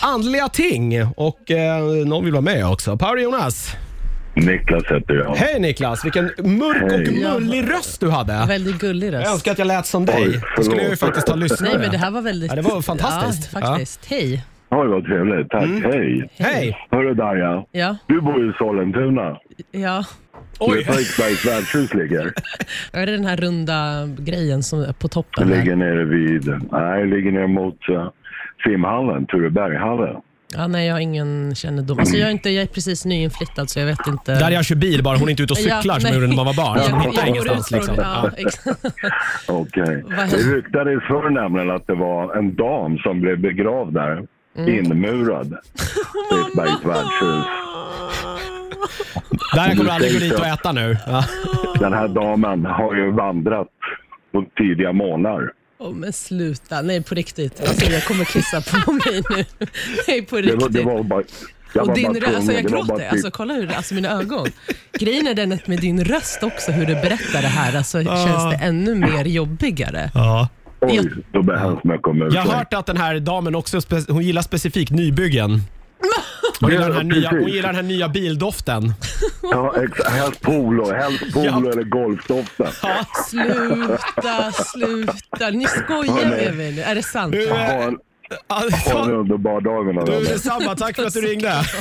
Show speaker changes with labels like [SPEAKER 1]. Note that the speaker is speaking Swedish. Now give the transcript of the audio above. [SPEAKER 1] andliga ting och eh, någon vill vara med också. Power Jonas.
[SPEAKER 2] Niklas heter jag.
[SPEAKER 1] Hej Niklas, vilken mörk och
[SPEAKER 2] Hej.
[SPEAKER 1] mullig röst du hade.
[SPEAKER 3] Väldigt gullig
[SPEAKER 1] Jag
[SPEAKER 3] röst.
[SPEAKER 1] önskar att jag lät som dig. Då skulle jag ju
[SPEAKER 2] förlåt.
[SPEAKER 1] faktiskt ha lyssnat.
[SPEAKER 3] Nej, men det här var väldigt...
[SPEAKER 1] Ja, det var fantastiskt.
[SPEAKER 3] Ja, faktiskt. Hej.
[SPEAKER 2] Ja, det var trevligt. Tack.
[SPEAKER 3] Mm.
[SPEAKER 2] Hej.
[SPEAKER 1] Hej!
[SPEAKER 2] Hörru Darja,
[SPEAKER 3] Ja,
[SPEAKER 2] du bor ju i Sollentuna.
[SPEAKER 3] ja.
[SPEAKER 1] Oj!
[SPEAKER 2] Vet du var Eriksbergs värdshus ligger?
[SPEAKER 3] Är det den här runda grejen som är på
[SPEAKER 2] Det
[SPEAKER 3] toppen? Här?
[SPEAKER 2] ligger nere vid, nej, det ligger ner mot uh, simhallen, Turebergshallen.
[SPEAKER 3] Ja, nej, jag har ingen kännedom. Alltså, jag, är inte, jag är precis nyinflyttad så jag vet inte.
[SPEAKER 1] Där jag kör bil bara, hon är inte ute och cyklar som
[SPEAKER 3] nej.
[SPEAKER 1] hon gjorde när man var barn.
[SPEAKER 3] Jag-
[SPEAKER 1] Så hon hittar
[SPEAKER 3] jag går
[SPEAKER 1] ingenstans
[SPEAKER 3] ut
[SPEAKER 1] liksom.
[SPEAKER 3] från- Ja, exakt.
[SPEAKER 2] Okej.
[SPEAKER 3] Vad-
[SPEAKER 2] eh, Det ryktades förr nämligen att det var en dam som blev begravd där.
[SPEAKER 3] Mm.
[SPEAKER 2] Inmurad. i Eriksbergs värdshus.
[SPEAKER 1] Där jag kommer aldrig gå dit och äta nu. Ja.
[SPEAKER 2] Den här damen har ju vandrat på tidiga månader.
[SPEAKER 3] Åh, men sluta. Nej, på riktigt. Alltså, jag kommer kissa på mig nu. Nej, på
[SPEAKER 2] Det var,
[SPEAKER 3] riktigt.
[SPEAKER 2] det var bara... Jag
[SPEAKER 3] Och
[SPEAKER 2] var
[SPEAKER 3] din
[SPEAKER 2] bara
[SPEAKER 3] röst, alltså
[SPEAKER 2] tvungen,
[SPEAKER 3] jag
[SPEAKER 2] det var bara
[SPEAKER 3] gråter.
[SPEAKER 2] typ-
[SPEAKER 3] Alltså kolla hur, alltså mina ögon. Grejen är den att med din röst också, hur du berättar det här, alltså känns det ännu mer jobbigare.
[SPEAKER 1] Ja.
[SPEAKER 2] Oj, då behövs man komma ut.
[SPEAKER 1] Jag har hört att den här damen också spe- hon gillar specifikt nybyggen. Hon gillar, den här
[SPEAKER 2] Ja,
[SPEAKER 1] nya, hon
[SPEAKER 2] precis.
[SPEAKER 1] gillar den här nya bildoften.
[SPEAKER 2] Ja, ex- helst polo, helst polo
[SPEAKER 1] Ja.
[SPEAKER 2] eller golfdoften.
[SPEAKER 1] Ja.
[SPEAKER 3] Sluta, sluta. Ni skojar
[SPEAKER 2] Ja, nej.
[SPEAKER 3] med mig nu. Är det sant?
[SPEAKER 1] Du, eh,
[SPEAKER 2] Ha en,
[SPEAKER 1] ja,
[SPEAKER 2] ha en
[SPEAKER 1] fan,
[SPEAKER 2] underbar dag mina
[SPEAKER 1] du
[SPEAKER 2] vänner.
[SPEAKER 1] detsamma. Tack för att du ringde.